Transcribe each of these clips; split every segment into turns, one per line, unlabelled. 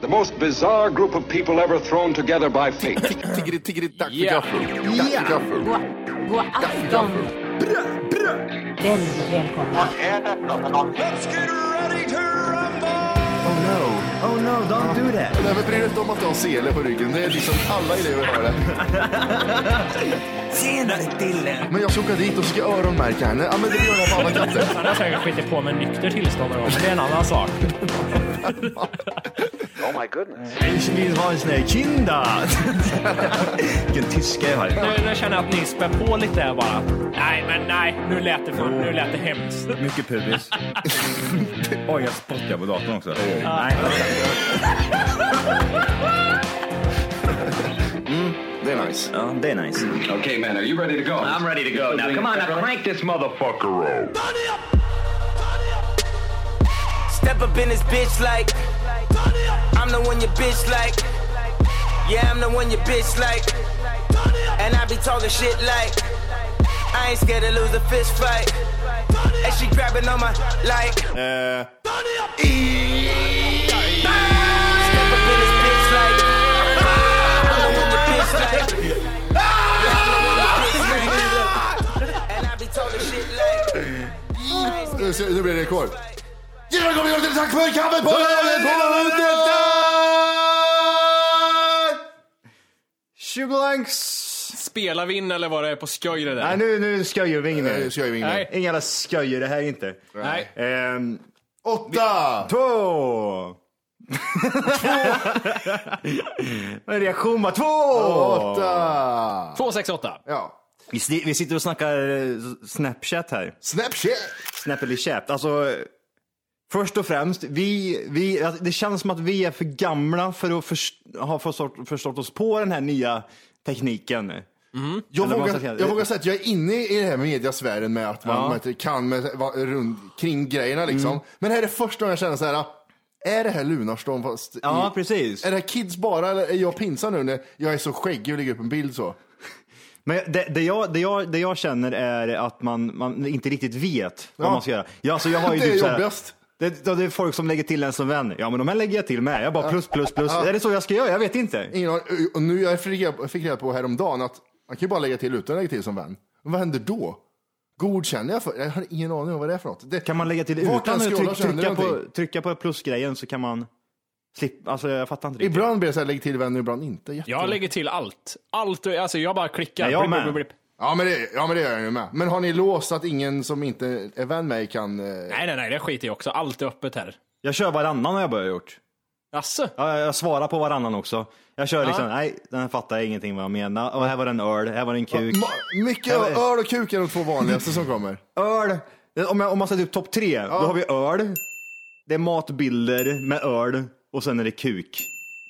The most bizarre group of people ever thrown together by fate.
Tiggeri, tiggeri, dack för
Ja.
gaffel. Dack för gaffel.
God, god afton. Väldigt välkomna.
Oh no, oh no, don't do that.
Nej, men bry dig inte om att jag har sele på ryggen. Det är liksom alla elever har det.
Senare Dille.
Men jag ska åka dit och ska öronmärka henne. Ja, men det gör jag på alla katter.
Han har säkert skitit på med nykter tillstånd någon gång, men det är en annan sak.
Oh my goodness.
Ich vill ha en sån här kinda. Vilken tyska jag har.
Nu, nu känner jag att ni spär på lite här bara. Nej, men nej, nu lät det, för, nu lät det hemskt.
Mycket pubis. Oj, jag spottar på datorn också. Nej,
Det är nice.
ja, det är nice.
Okay, man, are you ready to go? I'm ready to go. Now, come on, now crank this motherfucker up.
Step up in this bitch like I'm the one your bitch like Yeah, I'm the one your bitch like And I be talking shit like I ain't scared to lose a fist fight And she grabbing on my like
Eh,
Step up in this bitch like I'm the one your bitch like Yeah, I'm the one your bitch like And I be talking shit like
nu ser- nu blir det rekord. Hjärtligt välkomna till Tack för kaffet på Lönnetorget!
20 blanks.
Spelar vi in eller var det på skoj det där?
Nej, nu, nu skojar vi inget
Nu
mer.
kör vi inget
Nej.
Inga jävla skojer det här är inte.
Nej.
Ehm,
Åtta!
två. Vad är reaktion bara? Två!
Åtta!
268.
Ja.
Vi, si- vi sitter och snackar eh, Snapchat här.
Snapchat!
Snappily chat. Alltså, eh, först och främst, vi, vi, alltså, det känns som att vi är för gamla för att först- ha förstått, förstått oss på den här nya tekniken.
Jag
Eller
vågar,
vad man ska-
jag vågar säga att jag är inne i den här mediasfären med att man, man kan med, va, runt, kring grejerna liksom.
Mm.
Men det här är första gången jag känner så här, är det här Lunarstorm fast
Ja,
i,
precis.
Är det här kids bara eller är jag pinsam nu när jag är så skäggig och lägger upp en bild så?
Men det, det, jag, det, jag, det jag känner är att man, man inte riktigt vet vad
Ja.
man ska göra. Ja, alltså jag har ju
Det är
typ så här-
jobbigast.
Det, då det är folk som lägger till en som vän. Ja, men de här lägger jag till med. Jag bara plus, plus, plus. Är det så jag ska göra? Jag vet inte.
Ingen aning. och nu jag fick reda- fick reda på häromdagen att man kan ju bara lägga till utan att lägga till som vän. Men vad händer då? Godkänner jag för? Jag har ingen aning om vad det är för något. Det,
Kan man lägga till
Var
utan
kan
att
scrolla
tryck,
sönder
trycka, på,
någonting?
trycka på plusgrejen så kan man slippa. Alltså jag fattar inte riktigt.
Ibland blir det så här, lägg till vänner, ibland inte. Jätte-
Jag lägger till allt. Allt, alltså jag bara klickar.
Ja, jag
Blipp,
med.
blipp, blipp.
Ja, men det, ja, men det gör jag ju med. Men har ni låst att ingen som inte är vän med er kan... eh,
Nej, nej, nej, det skiter jag också. Allt är öppet här.
Jag kör varannan har jag börjat gjort.
Jaså?
Ja, jag svarar på varannan också. Jag kör liksom, nej, den här fattar jag ingenting vad jag menar. Och här var det en öl, här var det en kuk.
Ma- Mycket öl och kuk är de två vanligaste som kommer.
Öl. Om, jag, om man sätter upp topp tre, då har vi öl. Det är matbilder med öl och sen är det kuk.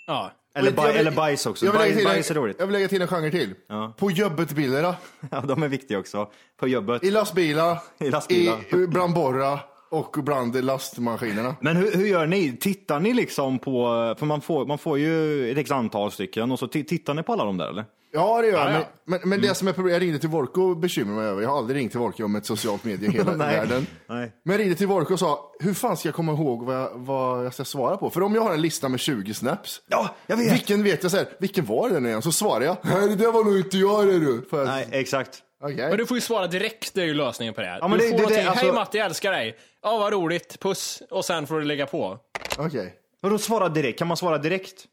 Ja.
Eller,
Jag
baj,
vill-
eller bajs också.
Jag vill, lägga
Baj,
till
bajs är
en,
roligt.
jag vill lägga till en genre till. På jobbet-bilderna,
Ja, de är viktiga också. På jobbet.
i lastbilar,
I lastbilar.
i- bland borra och bland lastmaskinerna.
Men hur, hur gör ni? Tittar ni liksom på, för man får, man får ju ett x antal stycken och så ti- tittar ni på alla de där eller?
Ja, det gör jag.
Ja, ja.
Men, men, men
Mm.
det som är problemet, jag ringde till Vorko och bekymrade mig över. Jag har aldrig ringt till Vorko om ett socialt medie i hela
Nej.
världen.
Nej.
Men jag ringde till Vorko och sa, hur fan ska jag komma ihåg vad jag, vad jag ska svara på? För om jag har en lista med 20 snaps,
Ja, jag vet.
vilken vet jag så här, vilken var det nu igen? Så svarar jag, nej det där var nog inte jag det du. För,
Nej, exakt.
okej.
Men du får ju svara direkt, det är ju lösningen på det här.
Ja, men
du
det-
får
det- det-
någonting.
alltså-
Hej Matti, jag älskar dig. Ja, vad roligt. Puss. Och sen får du lägga på.
Okej.
Vadå svara direkt? Kan man svara direkt?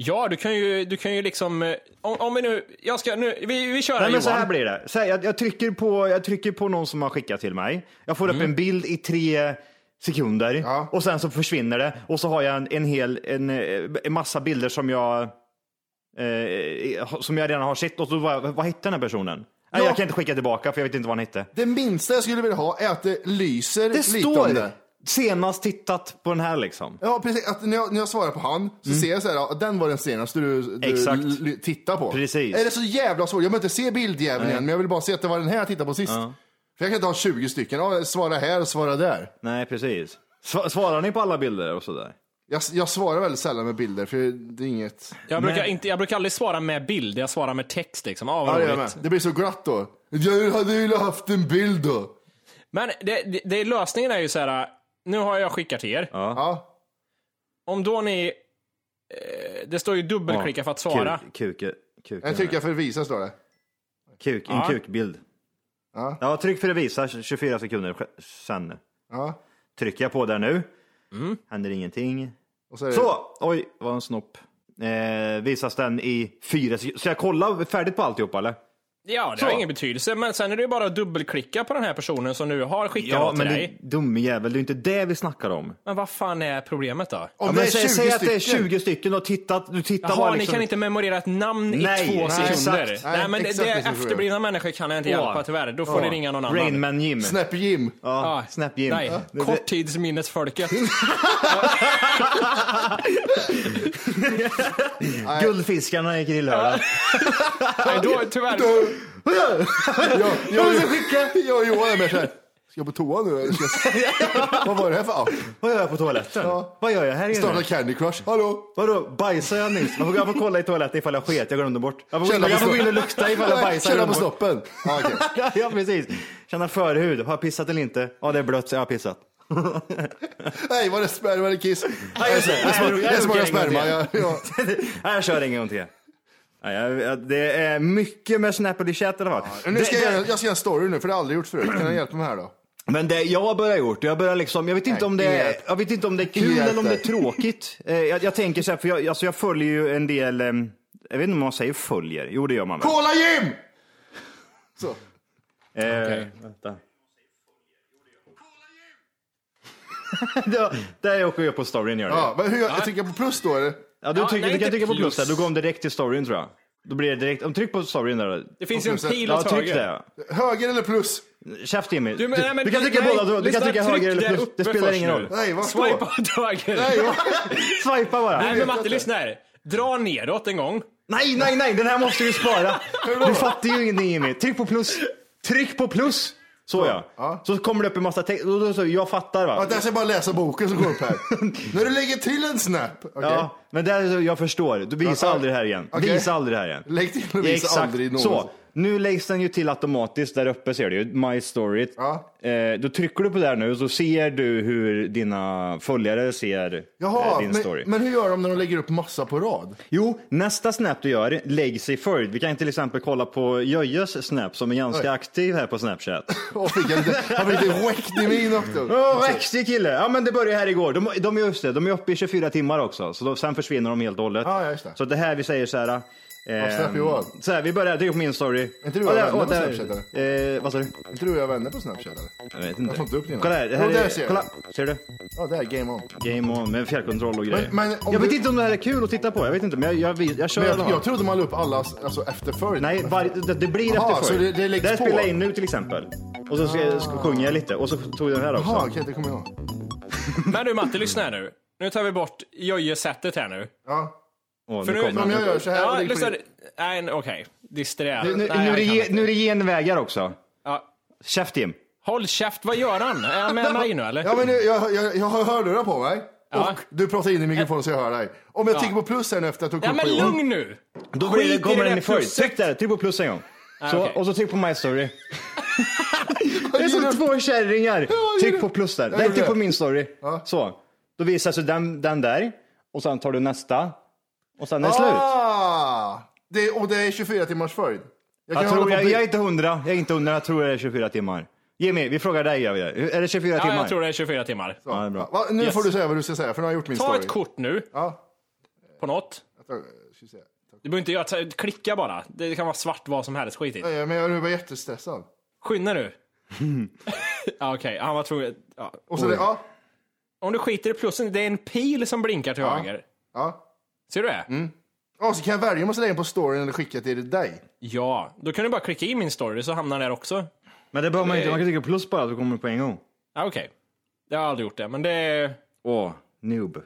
Ja, du kan ju, du kan ju liksom... eh, Om, om vi nu... Jag ska... Nu, vi, vi kör här,
Nej, men
Johan.
så här blir det. Så här, jag, jag, trycker på, jag trycker på någon som har skickat till mig. Jag får upp en bild i tre sekunder
Ja.
och sen så försvinner det. Och så har jag en, en hel en, eh, en massa bilder som jag, eh, som jag redan har sett. Och så bara, vad hette den här personen? Nej,
Ja.
jag kan inte skicka tillbaka för jag vet inte vad han hette.
Det minsta jag skulle vilja ha är att det lyser
Det
lite om
står
det.
senast tittat på den här liksom.
Ja, precis. Att när, jag, när jag svarar på han så ser jag så här, ja, den var den senaste du, du
Exakt.
l- l- tittar på.
Precis.
Är det så jävla svårt? Jag behöver inte se bildjäveln igen, men jag vill bara se att det var den här jag tittade på sist. För jag kan inte ha 20 stycken. Ja, svara här och svara där.
Nej, precis. Sva- Svarar ni på alla bilder och sådär?
Jag, jag svarar väldigt sällan med bilder, för det är inget...
Jag brukar, inte, jag brukar aldrig svara med bild, jag svarar med text liksom. Ja,
Ja,
vad
det, gör jag med.
roligt.
det blir så glatt då. Jag hade ju velat haft en bild då.
Men det, det, det, lösningen är ju så här. Nu har jag skickat till er.
Ja.
Om då ni eh, det står ju dubbelklicka för att svara.
Kuk, kuk, kuk,
En trycka för att visa står det.
kuk, en kukbild.
Ja.
Ja, tryck för att visa 24 sekunder sk- sen.
Ja.
Trycker jag på där nu.
Mm.
Händer ingenting.
Och så är det,
Så! Oj, vad en snopp. Eh, visas den i fyra sekunder. Ska jag kolla färdigt på alltihopa eller?
Ja, det har ingen betydelse, men sen är det ju bara att dubbelklicka på den här personen som nu har skickat
Ja,
något till
men du
dig.
dumme jävel, det är ju inte det vi snackar om.
Men vad fan är problemet då?
Om
Ja,
det
men
är 20
säg, säg att det är
stycken.
20 stycken och tittat, du tittar
Jaha,
bara
ni
liksom.
kan inte memorera ett namn
Nej,
i två
nej,
sekunder.
exakt.
Nej,
Nej,
men
exakt
det
det är
är
problemet.
efterblivna människor kan jag inte
Ja.
hjälpa tyvärr. Då får ni ringa någon annan.
Rainman Jim.
Snap Jim.
Ja,
Ja.
Snap Jim.
Nej,
Det-
korttidsminnesfolket.
det- Guldfiskarna gick i lördag.
Nej, då tyvärr.
Jag, jag, jag, jag och Johan är med såhär. Ska jag på toa nu eller? Ska jag... Vad var det här för app?
Vad gör jag på toaletten?
Ja.
Vad gör jag här
Starta
inne?
Candy Crush. Hallå?
Vadå, bajsar jag nyss? Jag får, jag får kolla i toaletten ifall jag sket, jag glömde bort. Jag får,
Känna på
jag får gå
snoppen.
in och lukta ifall jag bajsar.
Känna
jag
på
glömde bort.
snoppen. Ja, okej.
Ja, precis. Känna förhud. Har jag pissat eller inte? Ja, det är blött så jag har pissat.
Nej, var det sperma eller kiss? Nej,
just det.
det är så-
Nej,
det är så många
okej, en gång
sperma. Jag, jag,
Nej, jag kör en gång till. Nej, jag- jag- Det är mycket med Snapple i chatt i alla fall.
nu ska
Det-
jag, göra- jag ska göra en story nu, för det har jag aldrig gjort förut. Kan jag hjälpa mig här då?
Men det jag börjar gjort, jag börjar liksom, jag vet inte,
Nej,
om, det
ingen
är,
hjälp.
jag vet inte om det är kul
Ingen
eller om det är
hjälp där.
tråkigt. Eh, Jag, jag tänker så här, för jag, alltså jag följer ju en del, em, jag vet inte om man säger följer, jo det gör man väl.
Kolla Jim! Så.
Eh, vänta. det, var- det åker jag på storyn gör det.
Ja, men hur, jag, jag trycker på plus då eller?
Ja, du,
Ja,
trycker,
nej,
du kan
inte
trycka på plus
plus.
där, då går de direkt till storyn tror jag. Då blir det direkt, om tryck på storyn där.
Det finns ju en
Okej, så-
pil
Ja,
åt
tryck
höger.
det.
Höger eller plus?
Käft Jimmy. Du,
men- nej, men-
du kan trycka
nej,
båda, du, du kan
lyssna,
trycka
tryck
höger eller
där
plus, det
uppe
spelar
först
ingen
nu.
roll.
Nej, vad står?
Swipa åt höger.
Nej, vad-
Swipa bara.
Nej, men Matte,
inte.
lyssna här. Dra neråt en gång.
Nej, nej, nej, den här måste du spara. Du fattar ju ingenting Jimmy. Tryck på plus. Tryck på plus. Så ja.
Ja.
Så kommer det upp en massa text. Och då så, Jag fattar va.
Vänta, jag ska bara läsa boken som går upp här. När du lägger till en snap. Okej.
Ja, men det är, så- jag förstår. Du visar
Ja, ja.
aldrig det här igen.
Okej.
Visa aldrig det här igen.
Lägg till och visa
Exakt.
aldrig någonsin.
Så, nu läggs den ju till automatiskt där uppe ser du ju. My story.
Ja.
Eh, då trycker du på där nu så ser du hur dina följare ser eh,
Jaha,
din story.
men, men hur gör de när de lägger upp massa på rad?
Jo, nästa snap du gör läggs i följd. Vi kan till exempel kolla på Jöjes snap som är ganska aktiv här på Snapchat.
Och fick jag lite, han fick lite whacked i min också. Alltså,
Åh, Rexig kille! Ja men det började här igår. De, de, är just det, de är uppe i 24 timmar också, så då, sen försvinner de helt och hållet.
Ja, ja, just det.
Så det här vi säger så här. eh,
Ja, snap you all.
så här, vi börjar, tryck på min story.
inte du
Ja,
våra
där-
vänner
åh,
på
där-
Snapchat,
Eh, vad sa du?
Är inte du och jag vänner på Snapchat eller?
Jag vet
Jag får inte upp dina.
Kolla här, det här
Jo, där
är,
ser jag.
kolla. Ser du?
Ja, där, game on.
Game on med fjärrkontroll och grejer.
Men- men om
jag
du-
vet inte om det här är kul att titta på, jag vet inte, men jag, jag, jag, jag kör
Men
i alla
jag,
fall.
jag trodde man la upp alla alltså, efter följd.
Nej, varje- det, det blir
Jaha,
efter
så det- det läggs
Där
på. Ah.
spelar jag in nu till exempel. Och så ska, jag- ska, sjunger jag lite och så tog jag den här också.
Jaha, okej, det kommer jag ihåg.
Men du Matte, lyssna här nu. Nu tar vi bort Jöje-sättet här nu.
Ja.
Åh,
För
nu
nu-
kommer
Om
den.
jag gör så här och
Ja,
lägger på
lyssna.
din-
Nej, okej. Disträ.
Nu, nu,
Nej,
nu,
jag
är det
kan
ge-
inte.
nu är det genvägar också.
Ja.
Käft Jim.
Håll käft, vad gör han? Är han med mig nu eller?
Ja, men nu, jag, jag, jag har hörlurar på mig.
Ja.
Och du pratar in i mikrofonen så jag hör dig. Om jag trycker på plus här nu efter att jag tog
Ja,
kort på
men
Johan.
lugn nu!
Då blir det,
Skit i
kommer
det
den
där
i följd.
plusset.
Tryck där, tryck på plus en gång. Så,
okej.
Och så tryck på my story. det är
gillar-
som två kärringar.
jag
Tryck
gillar-
på plus där.
Jag
Nej,
gjorde
tryck på
det.
min story. Så. Då visar sig den, den där. Och sen tar du nästa. Och sen är det slut.
Ah, det, och det är 24 timmars följd. Jag
Jag,
hålla
tror,
på
jag,
bi-
jag är inte hundra. Jag är inte hundra. Jag tror det är 24 timmar. Jimmy, vi frågar dig. Gör vi det. Är det 24
Ja,
timmar?
jag tror det är 24 timmar.
Ja, det är bra.
Va, nu får du säga vad du ska säga, för nu har jag gjort min
Ta
story.
ett kort nu,
Ja.
på något.
Jag tar- ska vi se.
Du behöver inte göra, ta- klicka bara. Det kan vara svart, vad som helst, skit i.
Nej, Men jag nu var jättestressad.
Skynda nu. ja, okej, han var tvungen. Ja.
Och så det, ja,
Om du skiter i plussen, det är en pil som blinkar till höger.
ja.
Ser du det?
Mm.
Och så kan jag välja om jag ska lägga in på storyn eller skicka till dig.
Ja, då kan du bara klicka i min story så hamnar den där också.
Men det behöver man inte. Man kan trycka plus bara så kommer det på en gång.
Ja, okej. Jag har aldrig gjort det, men det är...
Åh, noob.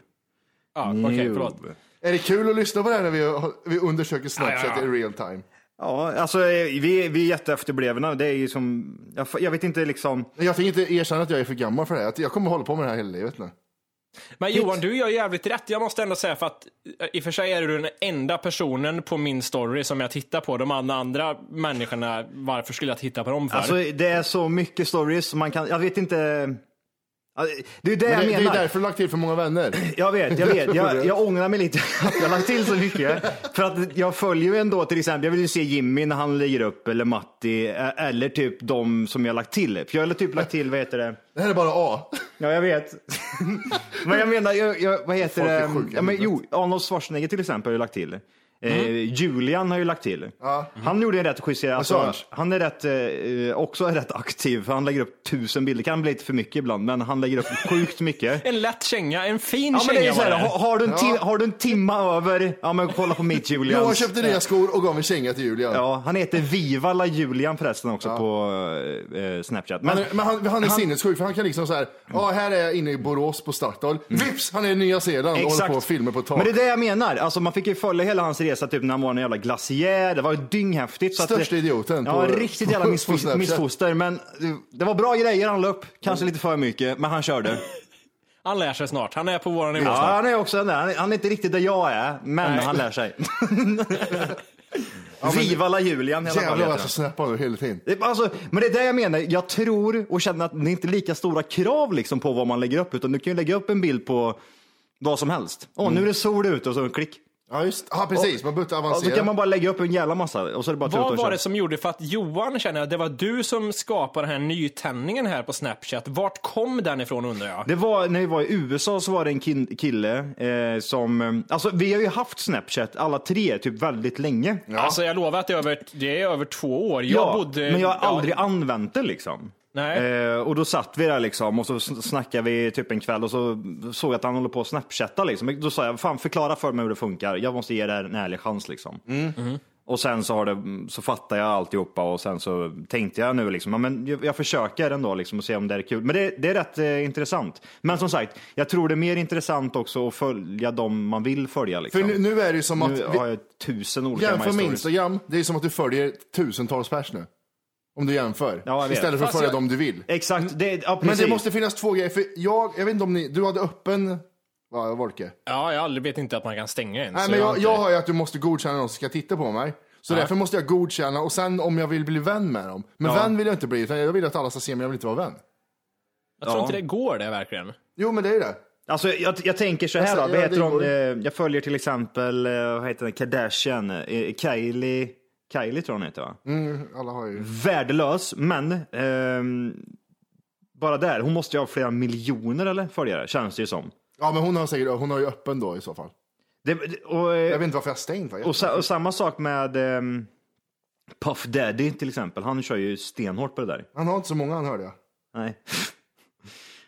Ja, okej, förlåt.
Noob.
Är det kul att lyssna på det här när vi, vi undersöker Snapchat
Ja, ja, ja.
i real time?
Ja, alltså eh, vi, vi är jätteefterblivna. Det är ju som, jag, f- jag vet inte liksom.
Men Jag tänker inte erkänna att jag är för gammal för det här. Jag- Jag kommer hålla på med det här hela livet nu.
Men Johan, du gör jävligt rätt. Jag måste ändå säga för att eh, i och för sig är du den enda personen på min story som jag tittar på. De andra, andra människorna, varför skulle jag titta på dem för?
Alltså det är så mycket stories. Man kan, jag vet inte. Alltså, Det är det
Men
jag
det, det är ju
menar.
därför du lagt till för många vänner.
Jag vet, jag vet. Jag, jag ångrar mig lite att jag har lagt till så mycket. För att jag följer ju ändå till exempel, jag vill ju se Jimmy när han lägger upp eller Matti eh, eller typ de som jag har lagt till. För jag har typ lagt till, vad heter det?
Det här är bara A.
Ja, jag vet. men jag menar, jag, jag, vad heter
Folk är
det?
sjuka i
Ja, men, jo,
huvudet. Mm.
Arnold Schwarzenegger till exempel har ju lagt till. Eh, Julian har ju lagt till. Han gjorde en rätt schysst, alltså,
sa
han är rätt, eh, också rätt aktiv, för han lägger upp tusen bilder. kan bli lite för mycket ibland, men han lägger upp sjukt mycket.
En lätt känga, en fin
Ja, men
känga
det är ju så
var
här,
det.
har, har, du en ti- har du en timma över, ja men kolla på Meet Julian.
Jag köpte nya skor och gav en känga till Julian.
Ja, han heter Viva la Julian förresten också på eh, Snapchat. Men,
Han är, men han, han är sinnessjuk för han kan liksom så här, ja här är jag inne i Borås på Statoil, vips han är i Nya Zeeland och håller på och filmer på ett tak.
Men det är det jag menar. Alltså, man fick ju följa hela hans resa typ när han var en jävla glaciär. Det var ju dynghäftigt. så att
Största
det-
idioten
Ja,
på-
riktigt jävla
på
missfos-
Snapchat.
missfoster. Men eh, det var bra grejer han la upp. Kanske lite för mycket, men han körde.
Han lär sig snart. Han är på vår nivå
Ja,
snart.
han är också den där. Han är- Han är inte riktigt där jag är, men han lär sig. Viva la Julian i alla fall.
Jävlar
heter
vad
den.
jag snappar nu hela tiden.
Det- Alltså, men det är det jag menar. Jag tror och känner att det är inte lika stora krav liksom på vad man lägger upp, utan du kan ju lägga upp en bild på vad som helst. Åh, nu är det sol ute och så en klick.
Ja just ja precis, man behöver inte
Ja,
avancera.
så kan man bara lägga upp en jävla massa och så är det bara att tuta
Vad
och
var
köra.
det som gjorde, för att Johan känner att det var du som skapade den här nytändningen här på Snapchat. Vart kom den ifrån undrar jag?
Det var när vi var i USA så var det en kin- kille eh, som, eh, alltså vi har ju haft Snapchat alla tre typ väldigt länge.
Alltså jag lovar att det är över, det är över två år. Jag
Ja,
bodde...
men jag har
ja,
aldrig använt det liksom.
Nej.
Eh, och då satt vi där liksom och så sn- snackade vi typ en kväll och så såg jag att han håller på att snapchatta liksom. Då sa jag, fan förklara för mig hur det funkar. Jag måste ge det här en ärlig chans liksom.
Mm.
Och sen så, har det, så fattade jag alltihopa och sen så tänkte jag nu liksom, ja, men jag, jag försöker ändå liksom och se om det är kul. Men det, det är rätt eh, intressant. Men som sagt, jag tror det är mer intressant också att följa dem man vill följa liksom.
För nu, nu är det ju som att,
nu
vi,
har jag tusen olika
jämför
My
med
Stories.
Instagram, det är som att du följer tusentals pers nu. Om du jämför.
Ja, jag vet.
Istället för att
Fast
följa
jag-
dem du vill.
Exakt, det, ja,
Men
precis.
det måste finnas två grejer, för jag, jag vet inte om ni, du hade öppen, ja, Volke?
Alltså,
Ja, jag aldrig vet inte att man kan stänga en.
Nej,
så
men
har
jag,
inte-
jag har ju att du måste godkänna någon som ska titta på mig. Så därför måste jag godkänna och sen om jag vill bli vän med dem. Men vän vill jag inte bli, utan jag vill att alla ska se mig, jag vill inte vara vän.
jag tror inte det går det verkligen.
Jo men det är ju det.
Alltså jag, jag tänker så här
Alltså,
då, vad
ja,
heter
det
hon?
går.
Eh, jag följer till exempel, eh, vad heter den, Kardashian, eh, Kylie, Kylie tror hon heter va?
Mm. Alla har ju...
Värdelös, men ehm, bara där, hon måste ju ha flera miljoner eller följare, känns det ju som.
Ja men hon har säkert, hon har ju öppen då i så fall.
Det, det- och,
Jag
eh,
vet inte varför jag har stängt
och,
faktiskt.
sa, och samma sak med ehm, Puff Daddy till exempel, han kör ju stenhårt på det där.
Han har inte så många han hörde jag.
Nej.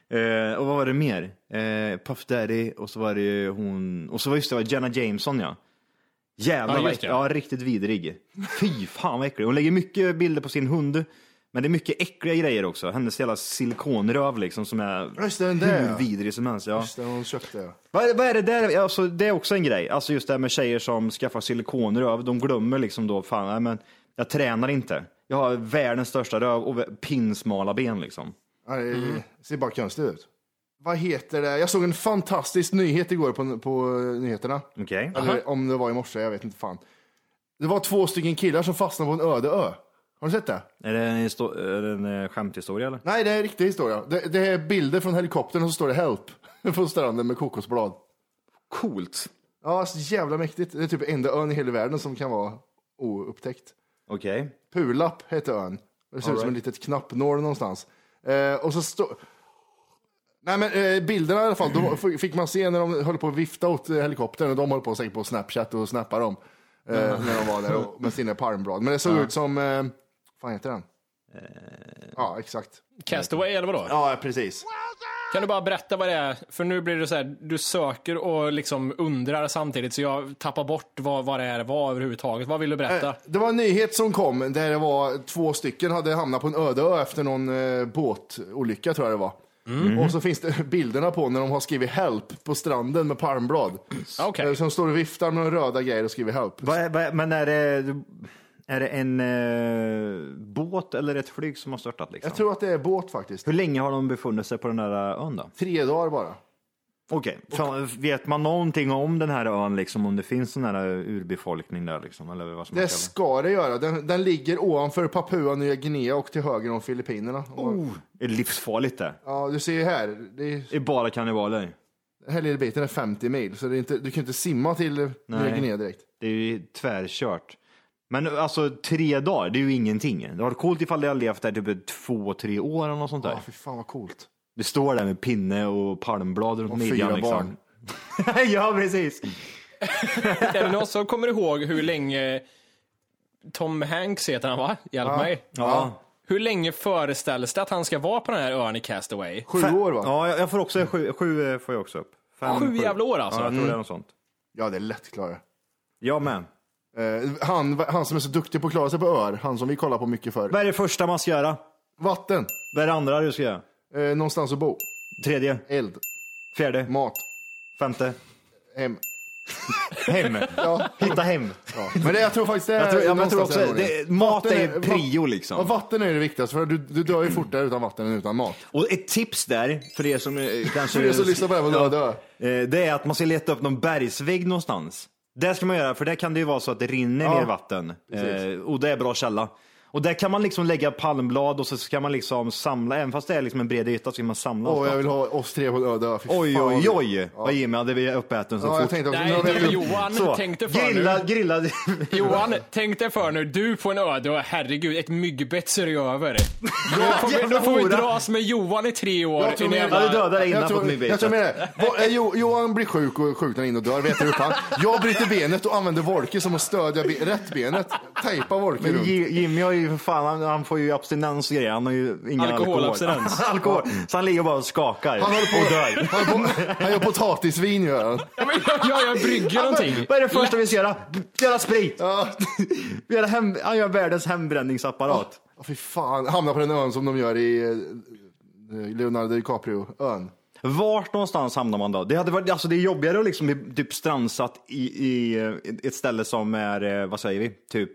Eh, och vad var det mer? Eh, Puff Daddy och så var det ju hon, och så var just det, var Jenna Jameson ja. Jävlar,
Ja,
vad
just
äck-
det.
ja riktigt vidrig. Fy fan vad äcklig. Hon lägger mycket bilder på sin hund, men det är mycket äckliga grejer också. Hennes jävla silikonröv liksom som är
Just det, den där, ja.
hur vidrig som helst. Ja.
Just det, hon köpte det.
Vad, är- vad är det där? Alltså, det är också en grej. Alltså just det här med tjejer som skaffar silikonröv. De glömmer liksom då, fan, nej, men jag tränar inte. Jag har världens största röv och vä- pinsmala ben liksom.
Ja, det ser bara konstigt ut. Vad heter det? Jag såg en fantastisk nyhet igår på, på nyheterna.
Okej.
Eller om det var i morse, jag vet inte fan. Det var två stycken killar som fastnade på en öde ö. Har du sett det?
Är det en, histo- är det en eh, skämthistoria eller?
Nej, det är en riktig historia. Det, det är bilder från helikoptern och så står det help på stranden med kokosblad.
Coolt.
Ja, så jävla mäktigt. Det är typ enda ön i hela världen som kan vara oupptäckt.
Okej.
Pulapp hette ön. Det ser ut som en litet knappnål någonstans. Eh, och så står... Nej men eh, bilderna i alla fall, de f- fick man se när de höll på att vifta åt eh, helikoptern och de höll på säkert på Snapchat och snappa dem. Eh, När de var där och, med sina palmblad. Men det såg ut som, eh, fan heter den? Ja, exakt.
Castaway eller vadå?
Ja, precis.
Kan du bara berätta vad det är? För nu blir det så här, du söker och liksom undrar samtidigt så jag tappar bort vad, vad det här var överhuvudtaget. Vad vill du berätta?
Eh.
Det var en nyhet som kom där det var två stycken hade hamnat på en öde ö efter någon eh, båtolycka tror jag det var. Och så finns det bilderna på när de har skrivit help på stranden med palmblad.
Okej.
Eh, Som står och viftar med några röda grejer och skriver help.
Vad är- vad är- Men är det, är det en eh, båt eller ett flyg som har störtat liksom?
Jag tror att det är båt faktiskt.
Hur länge har de befunnit sig på den där eh, ön då?
Tre dagar bara.
Okej, Fan, vet man någonting om den här ön liksom? Om det finns sån här urbefolkning där liksom? Eller vad som man
Det
kallar
ska det göra. Den, den ligger ovanför Papua Nya Guinea och till höger om Filippinerna. Oh.
det? är livsfarligt det.
Ja, du ser ju här. Det är,
Det är bara kannibaler.
den här lilla biten är 50 mil, så det är inte, du kan inte simma till Nya
Nej.
Guinea direkt.
Det är ju tvärkört. Men alltså tre dagar, det är ju ingenting. Det var coolt ifall det har levt där typ två, tre år eller något sånt där.
Ja, fy fan vad coolt.
Det står där med pinne och palmblad runt
Och
midjan.
fyra
liksom. ja, precis. Eh.
Är det någon som kommer ihåg hur länge Tom Hanks heter han va? Hjälp mig.
Ja.
Hur länge föreställs det att han ska vara på den här ön i Castaway?
Sju
Fem-
år va? Ja.
Ja, jag- jag får också sju, sju eh, får jag också upp. Fem,
Sju jävla år alltså?
Ja, jag tror det
Mm.
är något sånt.
det är lätt klara.
Jag med.
Eh, han, han som är så duktig på att klara sig på öar, han som vi kollar på mycket för.
Vad är det första man ska göra?
Vatten,
Vad är det andra du ska göra?
eh, någonstans att bo,
Tredje,
eld,
fjärde,
mat,
femte,
hem.
hem. Hitta hem.
Ja. Men det, jag tror faktiskt det är
Jag tror, jag, tror
någonstans
också,
där ordningen.
det, mat
Vatten
är prio liksom.
Ja, vatten är ju det viktigaste, för du, du dör ju fortare utan vatten än utan mat.
Och ett tips där, för er som eh, kanske...
För er som lyssnar på det här, vad
Ja.
dö, dö.
Eh, Det är att man ska leta upp någon bergsvägg någonstans. Det ska man göra, för där kan det ju vara så att det rinner
Ja,
ner vatten.
precis.
Eh, Och det är bra källa. Och där kan man liksom lägga palmblad och så ska man liksom samla, även fast det är liksom en bred yta så kan man samla
Åh,
allt
jag
vatten.
vill ha oss tre på en öde ö. Fy
Oj,
fan.
oj, oj! Vad Jimmy hade vi uppäten så
Ja, jag
fort.
tänkte också, nu
Nej,
har vi
du
ätit upp-
Johan,
så,
tänk dig för
grilla,
nu.
grilla.
Johan, tänk dig för nu. Du på en öde och herregud, ett myggbett ser ju över. Då får vi, då får vi
hora.
dras med Johan i tre år.
Jag tror
i en
vi-
jävla-
Ja, du dödade
Jag
innan på
tror,
ett
jag
nybetet.
tror med det. Vad- eh, Jo- Johan blir sjuk och sjuknar in och dör, vet du hur fan. Jag bryter benet och använder Wolke som att stödja be rätt benet. Tejpa Wolke
Men
runt.
Ji- Jimmy har ju för fan, han, han får ju abstinens och grejer. Han har ju ingen alkohol.
Alkoholabstinens.
alkohol. Så han ligger bara och skakar
Han håller på
och dör.
Han, gör på- han gör potatisvin gör han.
Ja, men jag- jag, jag brygger någonting.
Vad är det första vi ska göra? Göra sprit!
Ja.
Göra hem, han gör världens hembränningsapparat.
Ja, fy fan, hamnar på den ön som de gör i eh, Leonardo DiCaprio-ön.
Vart någonstans hamnar man då? Det, hade varit, alltså det är jobbigare att liksom bli typ strandsatt i, i eh, ett ställe som är, eh, vad säger vi, typ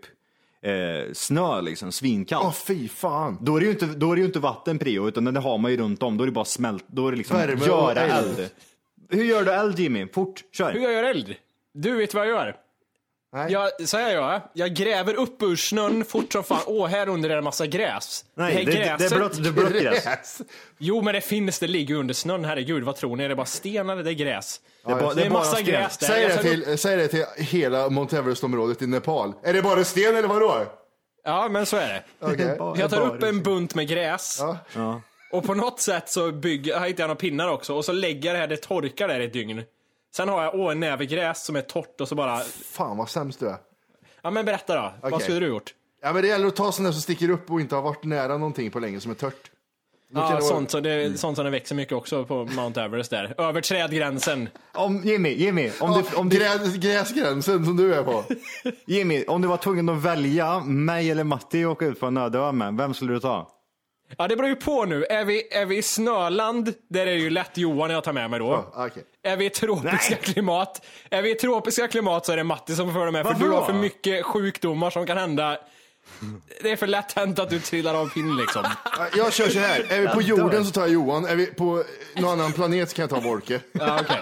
eh, snö liksom, svinkallt.
Åh fy fan.
Då är, det ju inte, då är det ju inte vatten prio, utan det har man ju runt om. Då är det bara smält, då är det liksom
Värme och
göra
eld.
eld. Hur gör du eld Jimmy? Fort, kör.
Hur jag gör eld? Du vet vad jag gör?
Nej.
Jag, så här gör jag. Jag gräver upp ur snön fort som fan. Åh, här under är det massa gräs.
Nej, det, det, det är
gräset-
blött, det är blött gräs.
Yes.
Jo, men det finns. Det ligger ju under snön. Herregud, vad tror ni? Är det bara sten eller det är gräs?
Det är, bara,
Det är
bara
massa
sten.
gräs där. Alltså,
Säg
Jag
det,
ska
till, säg det till hela Mount Everest-området i Nepal. Är det bara sten eller vadå?
Ja, men så är det.
Okej.
Jag tar upp en bunt med gräs.
Ja.
Och på något sätt så bygger, här hittar jag några pinnar också. Och så lägger jag det här, det torkar där i ett dygn. Sen har jag, åh, en näve gräs som är torrt och så bara,
Fan vad sämst du är.
ja men berätta då. Vad
Okej.
skulle du gjort?
Ja, men det gäller att ta sådana som sticker upp och inte har varit nära någonting på länge som är tört. Då kan
Ja,
det vara-
sånt, som det, sånt som det växer mycket också på Mount Everest där. Över trädgränsen.
Om, Jimmy, Jimmy, om,
Ja,
du, om, du,
gräs, gräsgränsen som du är på.
Jimmy, om du var tvungen att välja mig eller Matti att åka ut på en öde ö med, vem skulle du ta?
Ja, det beror ju på nu. Är vi, är vi i snöland, där är det ju lätt Johan jag tar med mig då.
Ja, okej.
Är vi i tropiska klimat? Är vi i tropiska klimat så är det Matti som får det med. För
Varför
du har
då?
för mycket sjukdomar som kan hända. Det är för lätt hänt att du trillar av pinn liksom.
Ja, Jag kör så här. Är vi på jorden så tar jag Johan. Är vi på någon annan planet så kan jag ta Wolke.
Ja, okej.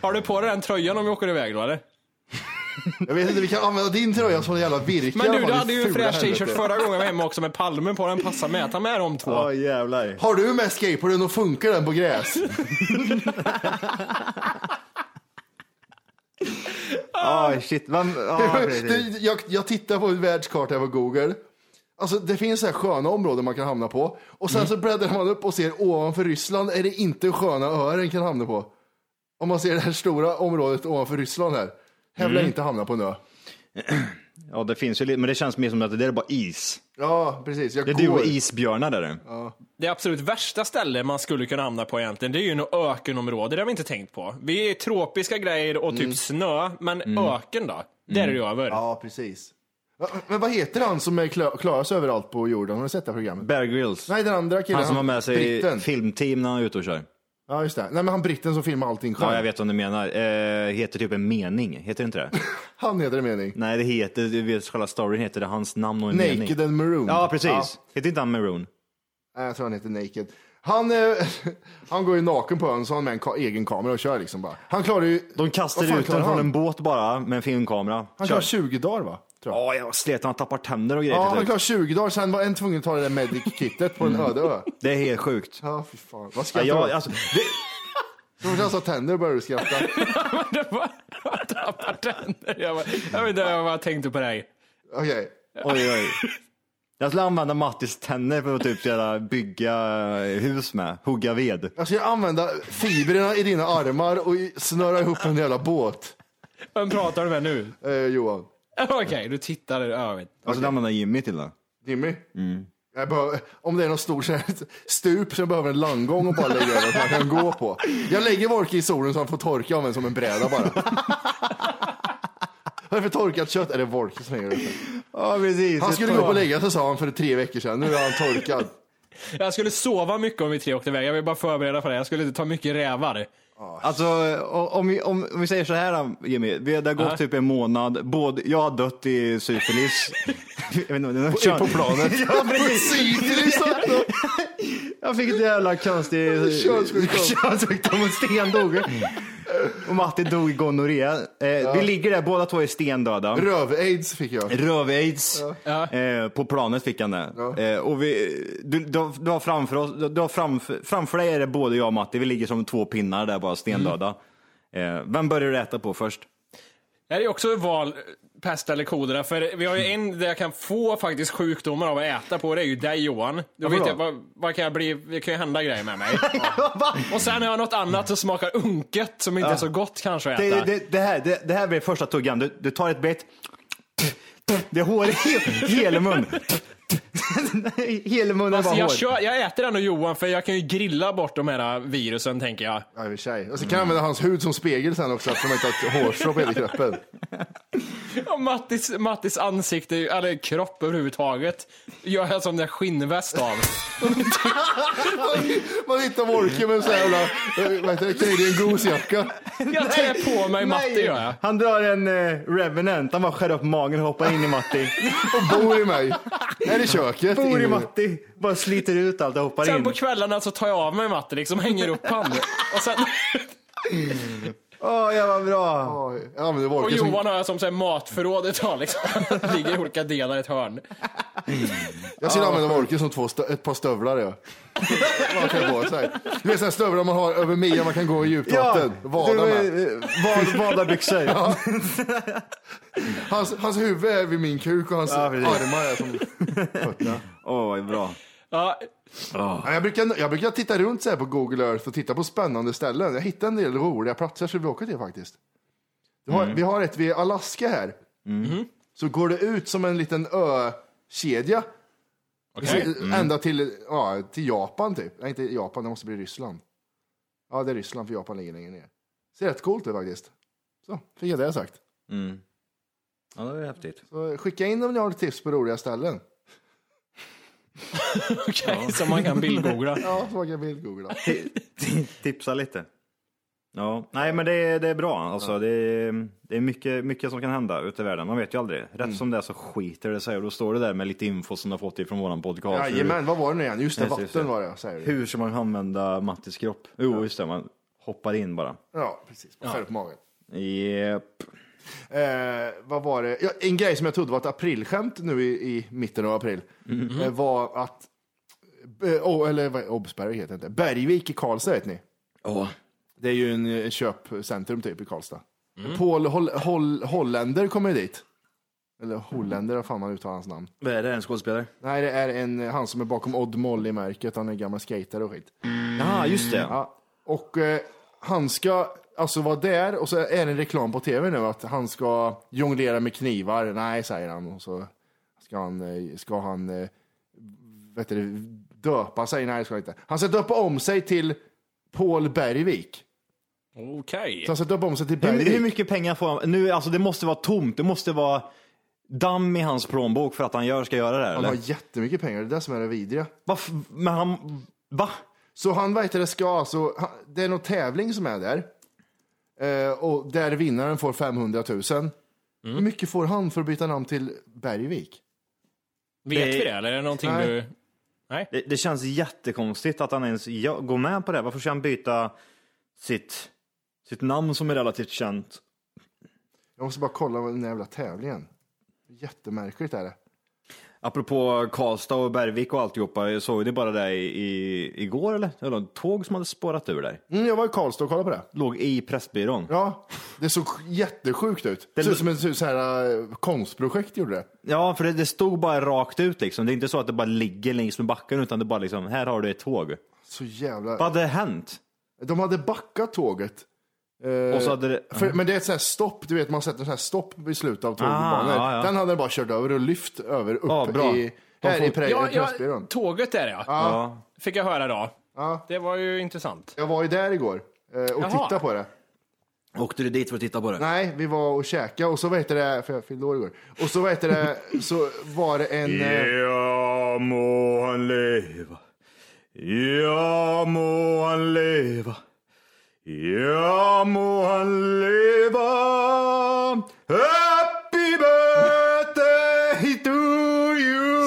Har du på dig den tröjan om vi åker iväg då eller?
Jag vet inte, vi kan använda din tröja som en jävla virke. i
Men
alla
du,
fall,
du
i
hade ju en
fula
fräsch
helvete.
t-shirt förra gången jag var hemma också med palmen på den. Passar med. Ta med de två.
Ja jävlar.
Har du med skateboarden och funkar den på gräs?
Ah, shit. Vem, ah, precis.
det, jag, jag tittar på en världskarta här på Google. Alltså det finns så här sköna områden man kan hamna på. Och sen så bläddrar man upp och ser ovanför Ryssland är det inte sköna öar en kan hamna på. Om man ser det här stora området ovanför Ryssland här. Här vill jag inte hamna på en ö.
ja det finns ju lite, men det känns mer som att det där är bara is.
Ja, precis. Jag
Det är du och isbjörnar där. Ja.
Det absolut värsta ställe man skulle kunna hamna på egentligen, det är ju något ökenområde. Det har vi inte tänkt på. Vi är i tropiska grejer och typ snö, men öken då? Där är det ju över.
Mm. Ja, precis. Va- Men vad heter han som är kla- klarar sig överallt på jorden? Har du sett det här programmet?
Bear Grylls.
Nej, den andra killen.
han som har med sig
Britten.
filmteam när han är ute och kör.
Ja, just det. Nej, men han britten som filmar allting själv.
Ja, jag vet vad du menar. Eh, heter typ en mening, heter det inte det?
Han heter det mening.
Nej, det heter, du vet själva storyn heter det, hans namn och en mening.
Naked and Maroon.
Ja, precis. Heter inte han Maroon?
Nej, jag tror han heter Naked. Han, eh, han går ju naken på ön, så har han med en ka- egen kamera och kör liksom bara. Han klarar ju...
De kastar
Vad fan
ut den
klarar
från
han?
en båt bara med en filmkamera.
Han
Kör.
klarar 20 dagar va? Tror jag.
Ja, jag var sleten. Han tappar tänder och grejer
Ja,
till
han
slut.
klarar 20 dagar, sen var en tvungen att ta det där medic-kittet på en öde ö.
Det är helt sjukt.
Ja, fy fan. Vad
Mm. Ja,
skrattar
jag,
du åt?
alltså, det,
Så fort jag sa tänder började du skratta.
det var, jag tappar tänder. Jag, bara, jag vet inte, jag bara tänkte på det här.
Okej.
oj, oj. Jag skulle använda Mattis tänder för att typ göra, bygga hus med, hugga ved.
Jag ska använda fibrerna i dina armar och i- snöra ihop en jävla båt,
Vem pratar du med nu?
eh, Johan.
Okej, du tittar. Ja, jag vet.
Jag skulle använda Jimmy till det.
Jimmy?
Mm.
Jag behöver, om det är någon stor så här stup så jag behöver en landgång och bara lägga över så han kan gå på. Jag lägger Vorke i solen så han får torka av en som en bräda bara. Vad är det för torkat kött? Är det Vorke som gör det?
Ja, precis.
Han skulle gå upp och lägga sig sa han för tre veckor sedan. Nu är han torkad.
Jag skulle sova mycket om vi tre åkte iväg. Jag vill bara förbereda för det. Jag skulle inte ta mycket rävar.
Alltså, o- om vi, om, om vi säger så här Jimmy, vi det har gått
Ja.
typ en månad, både, jag har dött i syfilis. jag vet inte, det är något
På
kön-
planet.
ja, precis.
Syfilis också!
Jag fick ett jävla konstigt
Könssjukdom.
könssjukdom och Sten dog. Och Matti dog i gonorré. Eh, Vi ligger där båda två är stendöda.
Röv-aids fick jag.
Röv-aids.
Ja.
Eh, på planet fick han det.
Ja.
Eh, och vi, du, du, du har framför oss, du, du har framför, framför dig är det både jag och Matti, vi ligger som två pinnar där bara stendöda. Eh, vem börjar du äta på först?
Det här är också ett val, pest eller kolera. För vi har ju en där jag kan få faktiskt sjukdomar av att äta på. Det är ju dig Johan. Då vet
då?
jag vad, vad kan jag bli, det kan ju hända grejer med mig. Och sen har jag något annat som smakar unket som inte är så gott kanske att äta.
Det, det, det, här, det, det här blir första tuggan, du, du tar ett bett, det är hår i hela mun. Hela munnen
Alltså,
var
jag,
hår.
kör, jag äter ändå Johan för jag kan ju grilla bort de här virusen tänker jag.
Ja, i och för sig. Och så kan jag använda hans hud som spegel sen också eftersom jag inte har ett hårstrå på hela kroppen.
Och Mattis, Mattis ansikte, eller kropp överhuvudtaget, gör jag som den där skinnväst av.
Man hittar Vorke med en sån här jävla, eh, vad heter det, Canadian Goose-jacka.
Jag trär på mig Matti gör jag.
Han drar en eh, revenant, han bara skär upp magen och hoppar in i Matti.
och bor i mig. Här i köket.
Bor i
In-
Matti, bara sliter ut allt och hoppar
Sen
in.
på kvällarna så tar jag av mig Matti liksom, hänger upp han. Och, sen,
Åh, jag var bra.
Ja, Jag använder
och
Volker som...
Johan har jag som så här matförrådet har liksom. Ligger i olika delar i ett hörn.
Jag skulle använda Volker som två stö- ett par stövlar. Ja. man kan gå så här. Du vet sådana stövlar man har över midjan, man kan gå i djupt vatten. Vada med.
eh, med. Vadarbyxor.
Hans, hans huvud är vid min kuk och hans
Ja, precis.
armar är som fötterna.
Åh, vad bra.
Ja,
Ja, Jag brukar, jag brukar titta runt så här på Google Earth och titta på spännande ställen. Jag hittade en del roliga platser som vi åker till faktiskt. Vi har, vi har ett vid Alaska här. Så går det ut som en liten ökedja.
Okej.
Så- Ända till, ja, till Japan typ. Nej, inte Japan, det måste bli Ryssland. Ja, det är Ryssland för Japan ligger längre ner. Ser rätt coolt ut faktiskt. Så, fick jag det sagt.
Ja, det var häftigt.
Så, skicka in om ni har tips på roliga ställen.
okej. Som man kan bildgoogla.
Ja, så man kan bildgoogla.
Tipsa lite. Ja, nej men det är, det är bra. Alltså, det är, det är mycket, mycket som kan hända ute i världen. Man vet ju aldrig. Rätt som det är så skiter det sig och då står det där med lite info som du har fått ifrån våran podcast.
Jajamän, vad var det nu igen? Just det,
Just det, just
vatten
det.
var det, säger du.
hur ska man använda Mattis kropp? Jo, just det, man hoppar in bara.
Ja, precis. Man skär upp magen.
Yep.
Eh, vad var det? Ja, en grej som jag trodde var ett aprilskämt nu i, i mitten av april eh, var att eh, oh, eller vad- Obsberg heter det inte. Bergvik i Karlstad vet ni. Det är ju en eh, köpcentrum typ i Karlstad. Paul Holl, Holl, Holländer kommer ju dit. Eller Holländer, vad fan man uttalar hans namn.
Vad är det, en skådespelare?
Nej, det är en, han som är bakom Odd Molly-märket. Han är gammal skater och skit.
Ja, just det.
Ja, och eh, han ska alltså vara där och så är det en reklam på tv nu att han ska jonglera med knivar. Nej, säger han. Och så ska han, eh, ska han eh, vet du, döpa sig. Nej, det ska han inte. Han ska döpa om sig till Paul Bergvik.
Okej.
Så han ska döpa om sig till
Hur,
Bergvik.
hur mycket pengar får han? Nu, alltså, det måste vara tomt, det måste vara damm i hans plånbok för att han gör, ska göra det här,
han
eller?
har jättemycket pengar, det är det som är det vidriga.
Va, f- men han, va?
Så han vet det ska alltså, han- det är någon tävling som är där. Eh, och där vinnaren får 500 000.
Mm.
Hur mycket får han för att byta namn till Bergvik?
Vet vi det eller är det någonting
Nej.
du... Nej.
Det, det känns jättekonstigt att han ens gö- går med på det. Varför ska han byta sitt, sitt namn som är relativt känt?
Jag måste bara kolla vad den här jävla tävlingen. Jättemärkligt är det.
Apropå Karlstad och Bergvik och alltihopa, jag såg ni bara det i, i, igår eller? Det var en tåg som hade spårat ur där.
Mm, jag var i Karlstad och kollade på det.
Låg i Pressbyrån.
Ja, det såg jättesjukt ut. Det
Det
ser ut
lu-
som ett så här, eh, konstprojekt gjorde det.
Ja, för det, det stod bara rakt ut liksom. Det är inte så att det bara ligger längs med backen utan det bara liksom, här har du ett tåg.
Så jävla...
Vad hade hänt?
De hade backat tåget. Eh,
Och så hade det...
för, men det är ett sånt här stopp, du vet man sätter så här stopp vid slutet av tågbanor.
Ah, ja, ja.
Den hade de bara kört över och lyft över upp
Ja, bra.
i,
De
här
får-
i pre-
Ja, ja,
Pressbyrån.
tåget är det ja.
Ja.
Fick jag höra då.
Ja.
Det var ju intressant.
Jag var ju där igår eh, och
Jaha.
tittade på det.
Åkte du dit för att titta på det?
Nej, vi var och käkade och så vad heter det, för jag fyllde år igår. Och så vad heter det, så var det en... eh,
Ja må han leva. Ja må han leva. Ja må han leva. Happy birthday to you.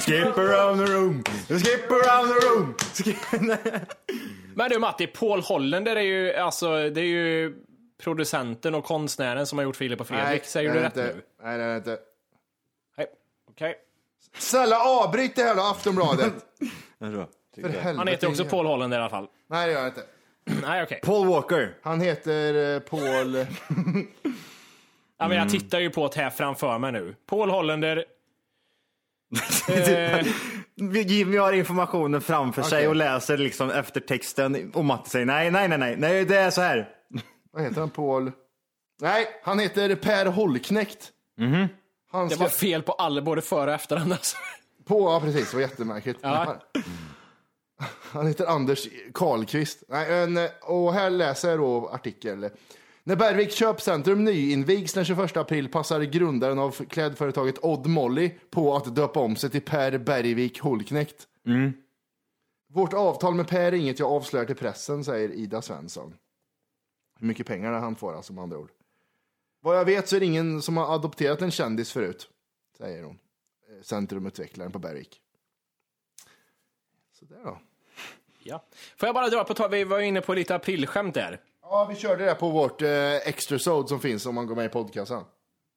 Skip around the
Skip around the room. Skip around the room.
Men du Matti, Paul Hollander är ju, alltså, det är ju producenten och konstnären som har gjort Filip och Fredrik. Säger
det
du
är
rätt
inte.
nu?
Nej, det är inte.
Nej. Okej.
Snälla avbryt det här då, Aftonbladet. För helvete.
Han heter också Paul Hollander i alla fall.
Nej, det gör han inte.
Nej, okej.
Paul Walker.
Han heter eh, Paul...
Ja, men
Mm.
jag tittar ju på det här framför mig nu. Paul Hollander. eh,
Jimmy har informationen framför sig och läser liksom eftertexten och Matti säger nej, nej, nej, nej, nej, det är så här.
Vad heter han? Paul... Nej, han heter Per Holknekt. Han
Mhm. det
ska...
var fel på alla, både före och efternamn. Alltså.
På, ja precis, det var jättemärkligt.
Ja.
Han heter Anders Karlqvist. Nej, en, och här läser jag då artikel. När Bergvik köpcentrum nyinvigs den 21 april passar grundaren av klädföretaget Odd Molly på att döpa om sig till Per Bergvik Holknekt. Vårt avtal med Per är inget jag avslöjar till pressen, säger Ida Svensson. Hur mycket pengar han får alltså med andra ord. Vad jag vet så är det ingen som har adopterat en kändis förut, säger hon. Eh, Centrumutvecklaren på Bergvik. Så där då.
Ja. Får jag bara dra på tal, vi var ju inne på lite aprilskämt där.
Ja, vi körde det på vårt eh, extra som finns om man går med i podcasten.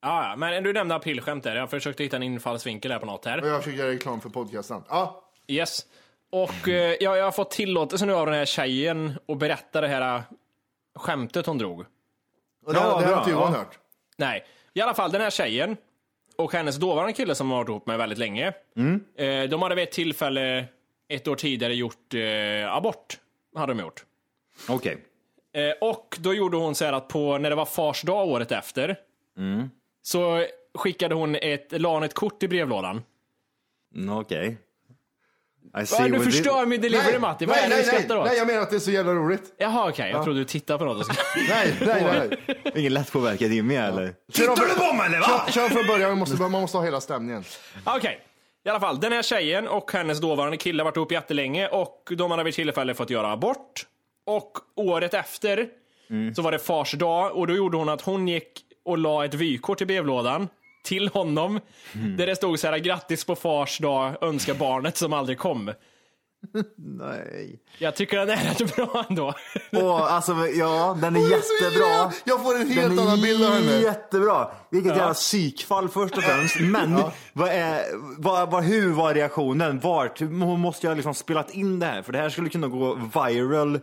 Ja, ja, men du nämnde aprilskämt där. Jag försökte hitta en infallsvinkel här på något
Och
här.
jag försöker göra reklam för podcasten. Ja,
Yes. Och eh, ja, jag har fått tillåtelse nu av den här tjejen att berätta det här eh, skämtet hon drog.
och det,
Ja,
det här
bra,
har inte Johan
ja.
hört.
Nej, i alla fall den här tjejen och hennes dåvarande kille som har varit ihop med väldigt länge. Eh, de hade vid ett tillfälle ett år tidigare gjort eh, abort. Hade de gjort.
Okej.
Eh, och då gjorde hon så här att på, när det var fars dag året efter, så skickade hon ett, la hon ett kort i brevlådan.
Mm, Okej. I
Va,
see
du
what you-
förstör min delivery Matti, vad
nej,
är det du
nej,
skrattar
nej,
åt?
nej, jag menar att det är så jävla roligt.
Jaha okej, jag trodde du tittade på något. och så-
Nej, nej, nej.
Ingen lättpåverkad Jimmy eller?
Tittar du på mig eller va? Kör, kör från början, man måste, man måste ha hela stämningen.
Okej. I alla fall, den här tjejen och hennes dåvarande kille har varit ihop jättelänge och de hade vid tillfälle fått göra abort. Och året efter så var det fars dag och då gjorde hon att hon gick och la ett vykort i brevlådan till honom. Där det stod så här, grattis på fars dag, önska barnet som aldrig kom.
Nej.
Jag tycker den är rätt bra ändå.
Åh, alltså ja, den är
Det är så
jättebra.
jävla- Jag får en
Den
helt annan bild av
är
henne.
jättebra. Vilket jävla psykfall först och främst. Men vad är, vad, vad, hur var reaktionen? Vart? Hon måste ju ha liksom spelat in det här. För det här skulle kunna gå viral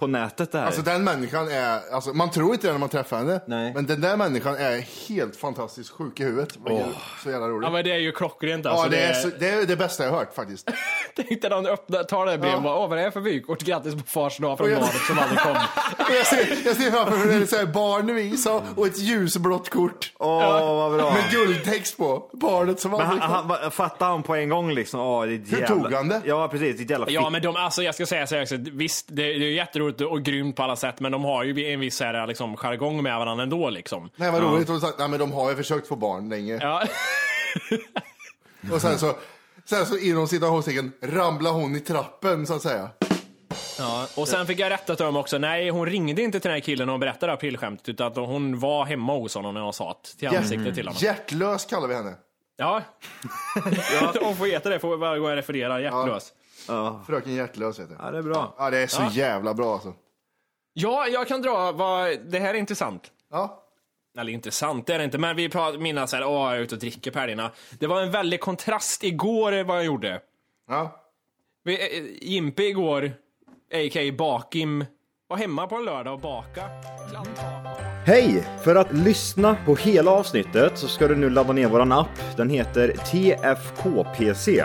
på nätet det här.
Alltså den människan är, alltså, man tror inte det när man träffar henne,
Nej.
men den där människan är helt fantastiskt sjuk i huvudet. Vad jävla- Så jävla roligt.
Ja
Ja,
men det är ju klockrent alltså.
det, är så, det är det bästa jag har hört faktiskt.
Tänk dig någon öppna, tar det här brevet och bara, åh vad är det här för vykort? Grattis på fars dag från
jag-
barnet som aldrig kom.
jag, ser, jag ser framför mig när det är så här barn i is och ett ljusblått kort.
Åh, vad bra.
Med guldtext på. Barnet som
Men han,
aldrig kom.
han, vad- fattade han på en gång liksom? Åh, det är ett
Hur
jävla-
tog han det?
Ja, precis. Ditt jävla
Ja, men de, alltså jag ska säga så här också, visst, det, det är ju jätteroligt och grymt på alla sätt, men de har ju en viss så här, liksom, jargong med varandra ändå. Liksom.
Nej vad roligt. Och så, nej men de har ju försökt få barn länge.
Ja.
Och sen så, sen så inom citationstecken ramlar hon i trappen så att säga.
Ja. Och sen fick jag rätta till dem också, nej, hon ringde inte till den här killen och berättade aprilskämtet, utan att hon var hemma hos honom när hon sa det till ansiktet till honom.
Hjärtlös kallar vi henne.
Ja. Hon får veta det får varje gång jag refererar hjärtlös.
Fröken Hjärtlös heter
Ja,
det.
det är bra.
Ja, det är så jävla bra alltså.
Ja, jag kan dra vad... Det här är intressant.
Ja,
Eller intressant, det är det inte, men vi pratar, mina så här, åh, jag är ute och dricker på helgerna. Det var en väldig kontrast igår vad jag gjorde.
ja.
Vi, eh, Jimpe igår, a.k.a. Bakim, var hemma på en lördag och baka.
Hej! För att lyssna på hela avsnittet så ska du nu ladda ner våran app. Den heter TFKPC.